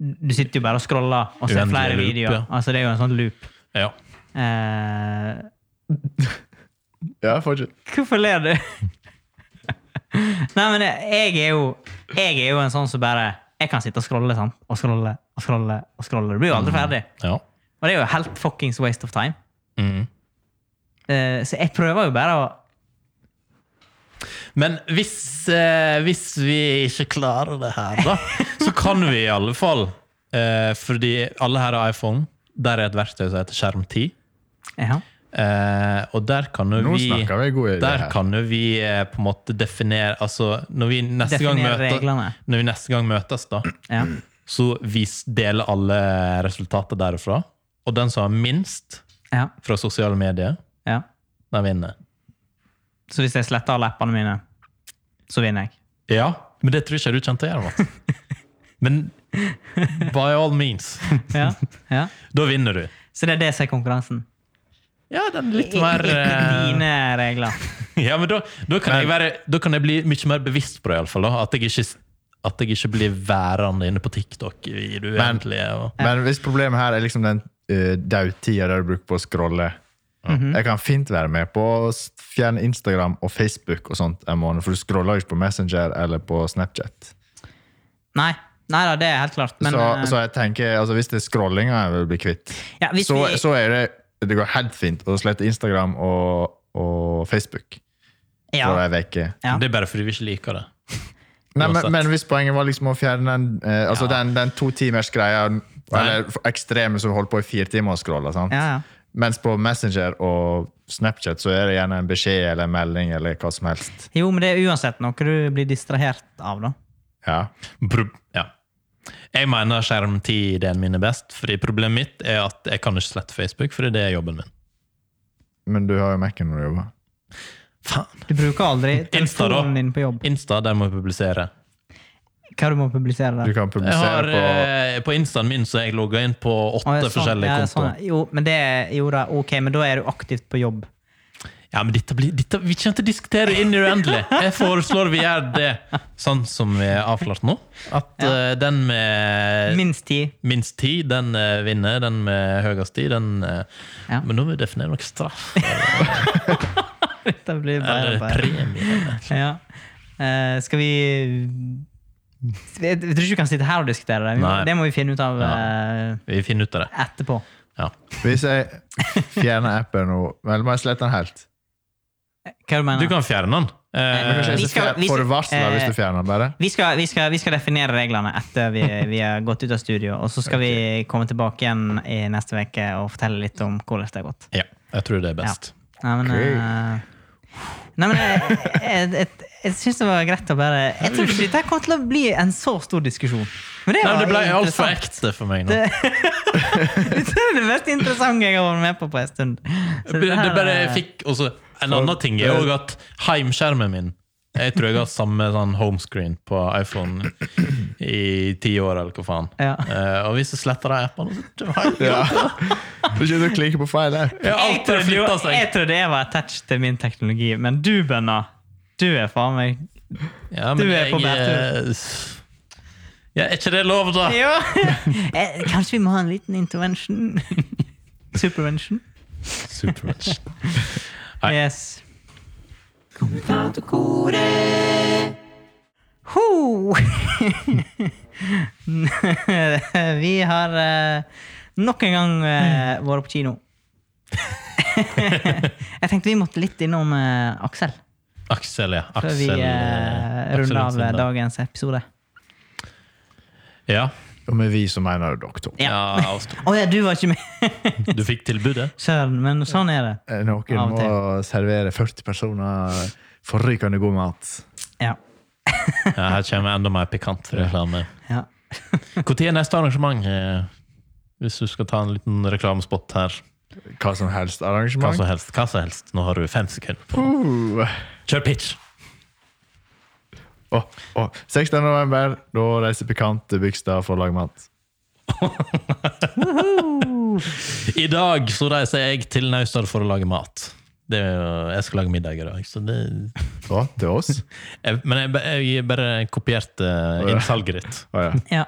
Du sitter jo bare og scroller og ser Uendelig flere loop, videoer. ja. Altså, det er jo en sånn loop. Ja. Eh, Ja, fortsett. hvorfor ler du? Nei, men jeg er jo Jeg er jo en sånn som bare Jeg kan sitte og scrolle sant? og scrolle og scrolle. og scrolle. Du blir jo Mm. aldri ferdig. ja. Og det er jo helt fuckings waste of time. Mm. Eh, så jeg prøver jo bare å Men hvis, eh, hvis vi ikke klarer det her, da, så kan vi i alle fall eh, Fordi alle her har iPhone. Der er et verktøy som heter skjermtid. Ja. Eh, og der kan jo Nå vi snakker vi god idé Der her. kan jo vi eh, på en måte definere Altså, når vi neste, gang, Definere møter, reglene. når vi neste gang møtes, da, ja. så vi s- deler alle resultater derfra. Og den som har minst ja, fra sosiale medier, ja. den vinner. Så hvis jeg sletter alle appene mine, så vinner jeg. Ja, men det tror jeg ikke du kjente igjen, Mats. Men by all means. Ja. Ja. Da vinner du. Så det er det som er konkurransen. Ja, den er litt mer eh, Dine regler. Ja, men da, da, kan jeg være, da kan jeg bli mye mer bevisst på det, iallfall. At, jeg ikke- at jeg ikke blir værende inne på TikTok i det uendelige. Og, Men hvis problemet her er liksom den uh, dautida der du bruker på å scrolle Mhm. Jeg kan fint være med på å s- fjerne Instagram og Facebook og sånt en måned, for du scroller jo ikke på Messenger eller på Snapchat. Nei. Nei da, det er helt klart. Men så, eh, så jeg tenker, altså hvis det er scrollinga jeg vil bli kvitt, Ja, hvis så, vi- så er det Det går helt fint å slette Instagram og, og Facebook ja. for ei uke. Ja. Det er bare fordi vi ikke liker det. Nei, men, Uansett. men hvis poenget var liksom å fjerne den, eh, altså den, den to timers greia, eller f- ekstreme som holder på i fire timer og scroller, sant? Ja, ja. Mens på Messenger og Snapchat så er det gjerne en beskjed eller en melding eller hva som helst. Jo, men det er uansett noe du blir distrahert av, da. Ja. Pro ja. Jeg mener skjermtid-ideen min er best, fordi problemet mitt er at jeg kan ikke slette Facebook, fordi det er jobben min. Men du har jo Mac-en når du jobber. Faen. Du bruker aldri Insta, da. telefonen din på jobb. Insta, der må jeg publisere. Hva du må publisere Du der. kan Jeg publisere har, på eh, på Instaen min så er jeg logga inn på åtte Å, ja, sånn. forskjellige Ja, ja, kontoer. sånn, ja. Jo, men det er, jo da, ok, men da er du aktivt på jobb. Ja, men dette blir, dette, Vi kommer til å diskutere inn i det uendelige. Jeg foreslår vi gjør det sånn som vi har avklart nå. At eh, den med Minst ti. minst ti, den eh, vinner. Den med høyest ti, den eh, Ja. Men nå må vi definere noe straff Det blir bare eller bare. premie. eller- Ja. Eh, skal vi jeg, jeg tror ikke vi kan sitte her og diskutere det. Vi må, Nei. det må vi finne ut av Ja. eh, Vi finner ut av det. etterpå. Ja. Hvis jeg fjerner appen nå Vel, må jeg slette den helt. Hva du mener Du kan fjerne den. men Eh, kanskje- Vi Kanskje skal- eh, vi- jeg får du varsler hvis du fjerner den bare? vi, skal, vi, skal, vi skal definere reglene etter vi, vi har gått ut av studio. Og så skal vi komme tilbake igjen i neste uke og fortelle litt om hvordan det har gått. ja, jeg tror det er best. Nei, men, Ok. eh, nei, men eh, jeg, jeg, jeg, jeg syns det var greit å bare Jeg tror ikke dette kom til å bli en så stor diskusjon. Men det, Nei, men var det ble altfor interessant. ekte for meg nå. Det- Dette er det mest interessante jeg har vært med på på en stund. Så Det, det her, bare eh, jeg fikk også, En annen ting er òg at heimskjermen min Jeg tror jeg har samme sånn homescreen på iPhone i ti år, eller hva faen. Ja. Eh, og hvis jeg sletter de appene, så har jeg Ja. Du ikke du klikker på feil app. jeg har jeg, alltid trodde jo, flytta jeg seg. trodde jeg var attached til min teknologi, men du, Bønna, du er faen meg Ja, Du er på eh, ja, Er ikke det lov, da? Ja! Eh, Kanskje vi må ha en liten intervention? Supervention? Supermatch. Nei. Yes. Ho! Vi har eh, nok en gang eh, vært på kino. Jeg tenkte vi måtte litt innom eh, Aksel Aksel, ja. før vi Aksel, eh, Aksel runder av Lundsen, da. dagens episode. Ja. Og med vi så mener du dere to. Ja. ja oss to. Å ja, du var ikke med! Du fikk tilbudet? Søren, men sånn er det. Eh, Av Noen og må servere 40 personer forrykende god mat. Ja. Ja, her kommer enda mer pikant reklame. ja. Når er neste arrangement? eh, Hvis du skal ta en liten reklamespott her. Hva som helst Hva arrangement. som helst. Hva som helst. Nå har du fem sekunder. på det. Uh. Kjør pitch! Å, å. 16. november, da reiser Pikant til Bygstad for å lage mat. I dag så reiser jeg til Naustdal for å lage mat. Det er jo, jeg skal lage middag i dag, så det Å, til oss? jeg, Men jeg, ba- jeg bare kopierte eh, innsalget ditt. Å, ja. ja.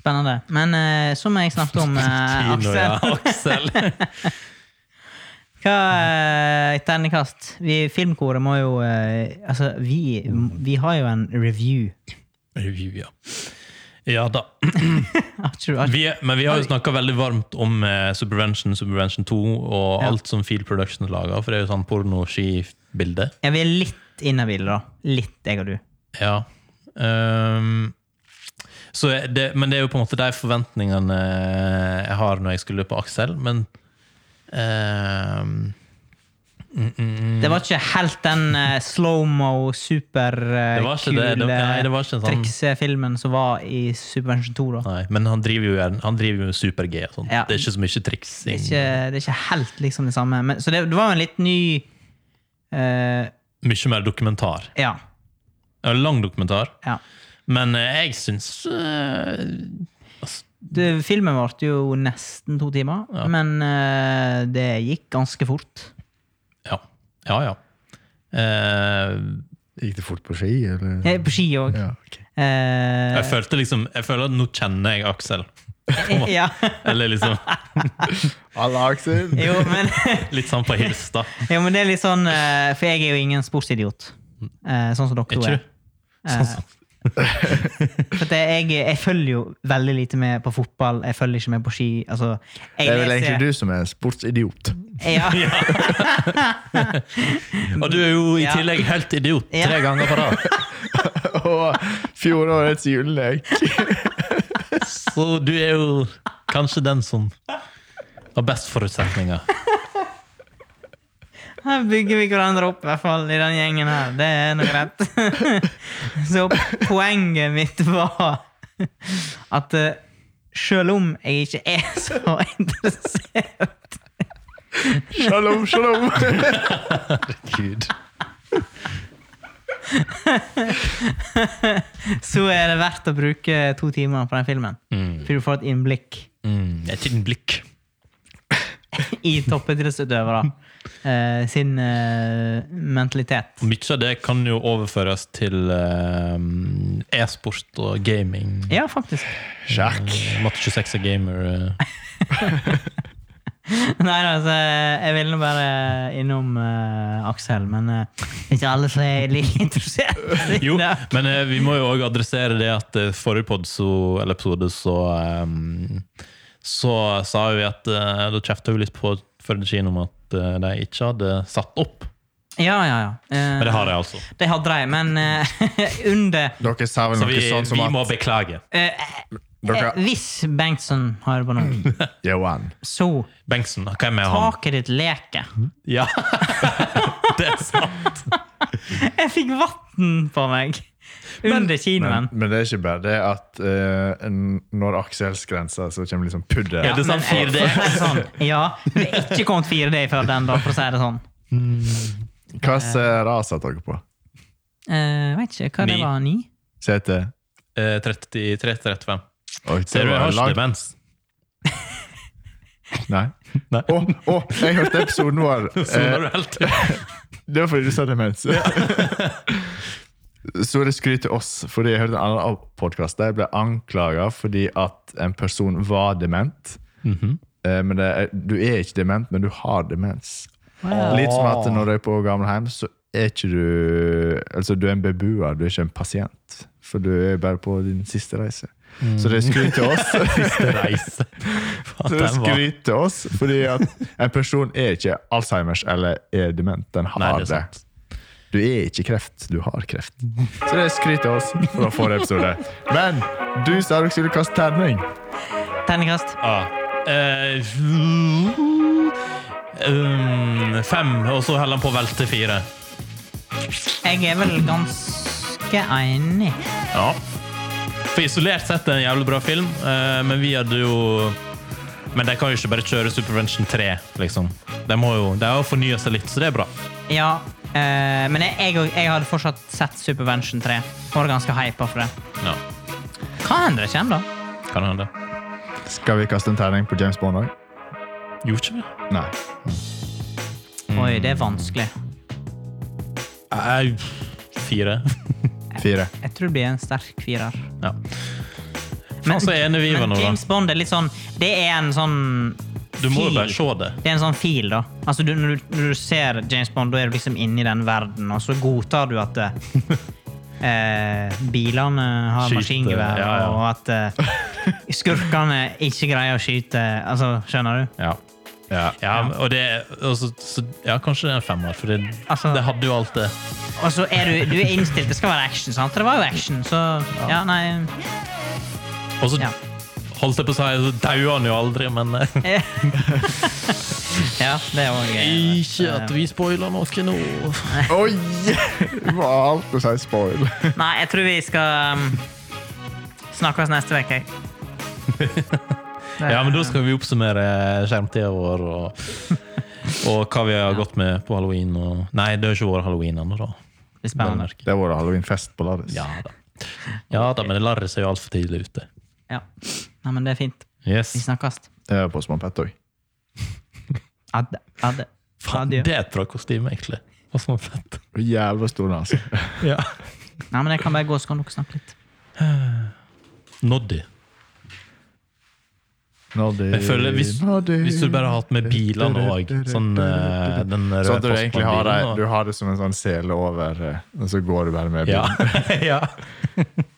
Spennende. Men eh, som jeg snakket om, eh, Kino, ja. Aksel Aksel. Hva eh, terningkast? Vi Filmkoret må jo eh, Altså, vi, vi har jo en review. Review, ja. Ja da. Har ikke du- har ikke- Vi, men vi har jo snakka veldig varmt om eh, Supervention, Supervention 2 og Ja. alt som Field Production lager, for det er jo sånn porno-skibilde. Ja, vi er litt inhabile, da. Litt, jeg og du. Ja. Ehm, så det, men det er jo på en måte de forventningene jeg har når jeg skulle på Aksel, men ehm, mm, mm, mm. Det var ikke helt den eh, slow-mo, Det var ikke det. Det- nei, det var superkule ikke en sånn- triksefilmen som var i Supervention 2, da. Nei, men han driver jo gjerne- han driver jo med super-G og sånn. Ja. Det er ikke så mye Det triksing. er ikke, det er ikke helt liksom det samme. Men, så det, det var jo en litt ny eh, Mye mer dokumentar. Ja. Ja, Lang dokumentar. ja. Men eh, jeg syns eh, altså, Du, filmen varte jo nesten to timer, Ja. men eh, det gikk ganske fort. Ja, ja. ja. Eh, Gikk det fort på ski, eller? Eh, På ski òg. Ja, ok. Eh, jeg følte liksom Jeg føler at nå kjenner jeg Aksel. ja. Eller liksom Alle Aksel! Jo, men, litt sånn på hils, da. jo, men det er litt sånn eh, For jeg er jo ingen sportsidiot, eh, sånn som dere to Ikke er. du? Sånn som- For at jeg, jeg følger jo veldig lite med på fotball, jeg følger ikke med på ski. Altså, jeg Det er vel leser- egentlig du som er sportsidiot. Ja. Og du er jo i Ja. tillegg helt idiot Ja. tre ganger på rad. Og fjorårets julelek. Så du er jo kanskje den som har best forutsetninger. Her bygger vi hverandre opp, i hvert fall, i den gjengen her. Det er nå greit. Så poenget mitt var at eh, selv om jeg ikke er så interessert Shalom, shalom! Gud. så er det verdt å bruke to timer på den filmen. For du får et innblikk Mm, et liten blikk. i toppidrettsutøvere eh, sin eh, mentalitet. Mye av det kan jo overføres til eh, e-sport og gaming. Ja, faktisk. Sjakk. Matte 26 er gamer. eh. Nei, altså, jeg ville nå bare innom eh, Aksel, men eh, det er ikke alle som er like interessert. i Jo, det. men eh, vi må jo òg adressere det at eh, forrige pod så, eller episode så ehm, Så sa vi at eh, Da kjefta vi litt på Førde kino om at eh, de ikke hadde satt opp. Ja, ja, ja. Eh, Men det har de altså. Det hadde de, men eh, under Dere sa vel Så noe vi, sånn som vi at må beklage. eh, eh, Dere- Hvis Bengtsson hører på nå, Johan. så Bengtsen, hvem er Mm. han? taket ditt leker. Ja, Det er sant! Jeg fikk vann på meg under kinoen. Men det er ikke bare det at eh, n- når Aksels grenser, så kommer liksom pudder. Ja, det er sant, men jeg- 4D. for å si det Sånn, ja, det er ikke kommet 4D før den, da, for å si det sånn. Hva slags ras har dere på? Eh, vet ikke hva det Ni. var. Ni? Sete? Eh, 33-35. Oi, det Ser du, jeg var har ikke langt. demens. Nei. Nei. Å, å, jeg hørte episoden vår. Soner Eh, du helt? det var fordi du sa demens. Så det skryt til oss, fordi jeg hørte en annen podkast der jeg ble anklaga fordi at en person var dement. Mhm. Eh, Men det er, du er ikke dement, men du har demens. Wow. Litt som at når du er på gamlehjem, så er ikke du Altså, du er en beboer, du er ikke en pasient. For du er bare på din siste reise. Så det er skryt til oss. Siste reise. Faen, Så det den var- skryter til oss, fordi at en person er ikke Alzheimers eller er dement. Den har Nei, det er det. sant. Du er ikke kreft, du har kreft. Så det skryter til oss fra forrige episode. Men du sa dere skulle kaste terning. Terningkast. Ja. Eh, um, fem, og så holder han på å velte fire. Jeg er vel ganske enig. Ja. For isolert sett er det en jævlig bra film, eh, men vi hadde jo Men de kan jo ikke bare kjøre Supervention 3, liksom. De må jo de har jo fornya seg litt, så det er bra. Ja, eh, men jeg, jeg, og- jeg hadde fortsatt sett Supervention 3. Var ganske hypa for det. Ja, Hva hender det kommer, da? kan hende. Skal vi kaste en terning på James Bond òg? Gjorde ikke det? Nei. Mm. Oi, det er vanskelig. Nei, fire. Fire. Jeg tror det blir en sterk firer. Ja. Faen, så enig vi var Men nå, da. James Bond er litt sånn Det er en sånn Du må jo fil. bare se det. Det er en sånn fil, da. Altså, du, når, du, når du ser James Bond, da er du liksom inne i den verden, og så godtar du at eh, eh, bilene har Skyter, maskingevær, ja, ja. og at eh, skurkene ikke greier å skyte Altså, skjønner du? Ja. Ja. ja og det og så, så, Ja, kanskje det er en femmer, for det, Altså- det hadde jo alt det. Og så er du, du er innstilt. Det skal være action, sant? Det var jo action, så Ja, nei Og så Ja. holdt jeg på å si, så dauer han jo aldri, men eh, ja det er òg Ikke at vi spoiler noe nå. Oi! Det var alt å si spoil. Nei, jeg tror vi skal um, snakkes neste uke, jeg. Ja, men da skal vi oppsummere skjermtida vår og, og hva vi har gått med på halloween. Og, nei, det har ikke vært halloween ennå, da. Det blir spennende. Merker. Det har vært halloweenfest på Ladis. Ja da. Ja da, men Larris er jo altfor tidlig ute. Ja. Nei, men det er fint. Yes. Vi snakkes. Jeg var på Småpett òg. Adde. Adde. Faen, Adjø. det er et bra kostyme, egentlig. Hva som er fett. Jævla stor nese. Ja. Nei, men jeg kan bare gå, så kan dere snakke litt. Noddy. Noddy, Jeg føler hvis, noddy. hvis du bare har hatt med bilene òg, sånn eh, den røde Sånn at du egentlig har det, postmannbilen og- du har det som en sånn sele over, eh, og så går du bare med ja. bilen. ja.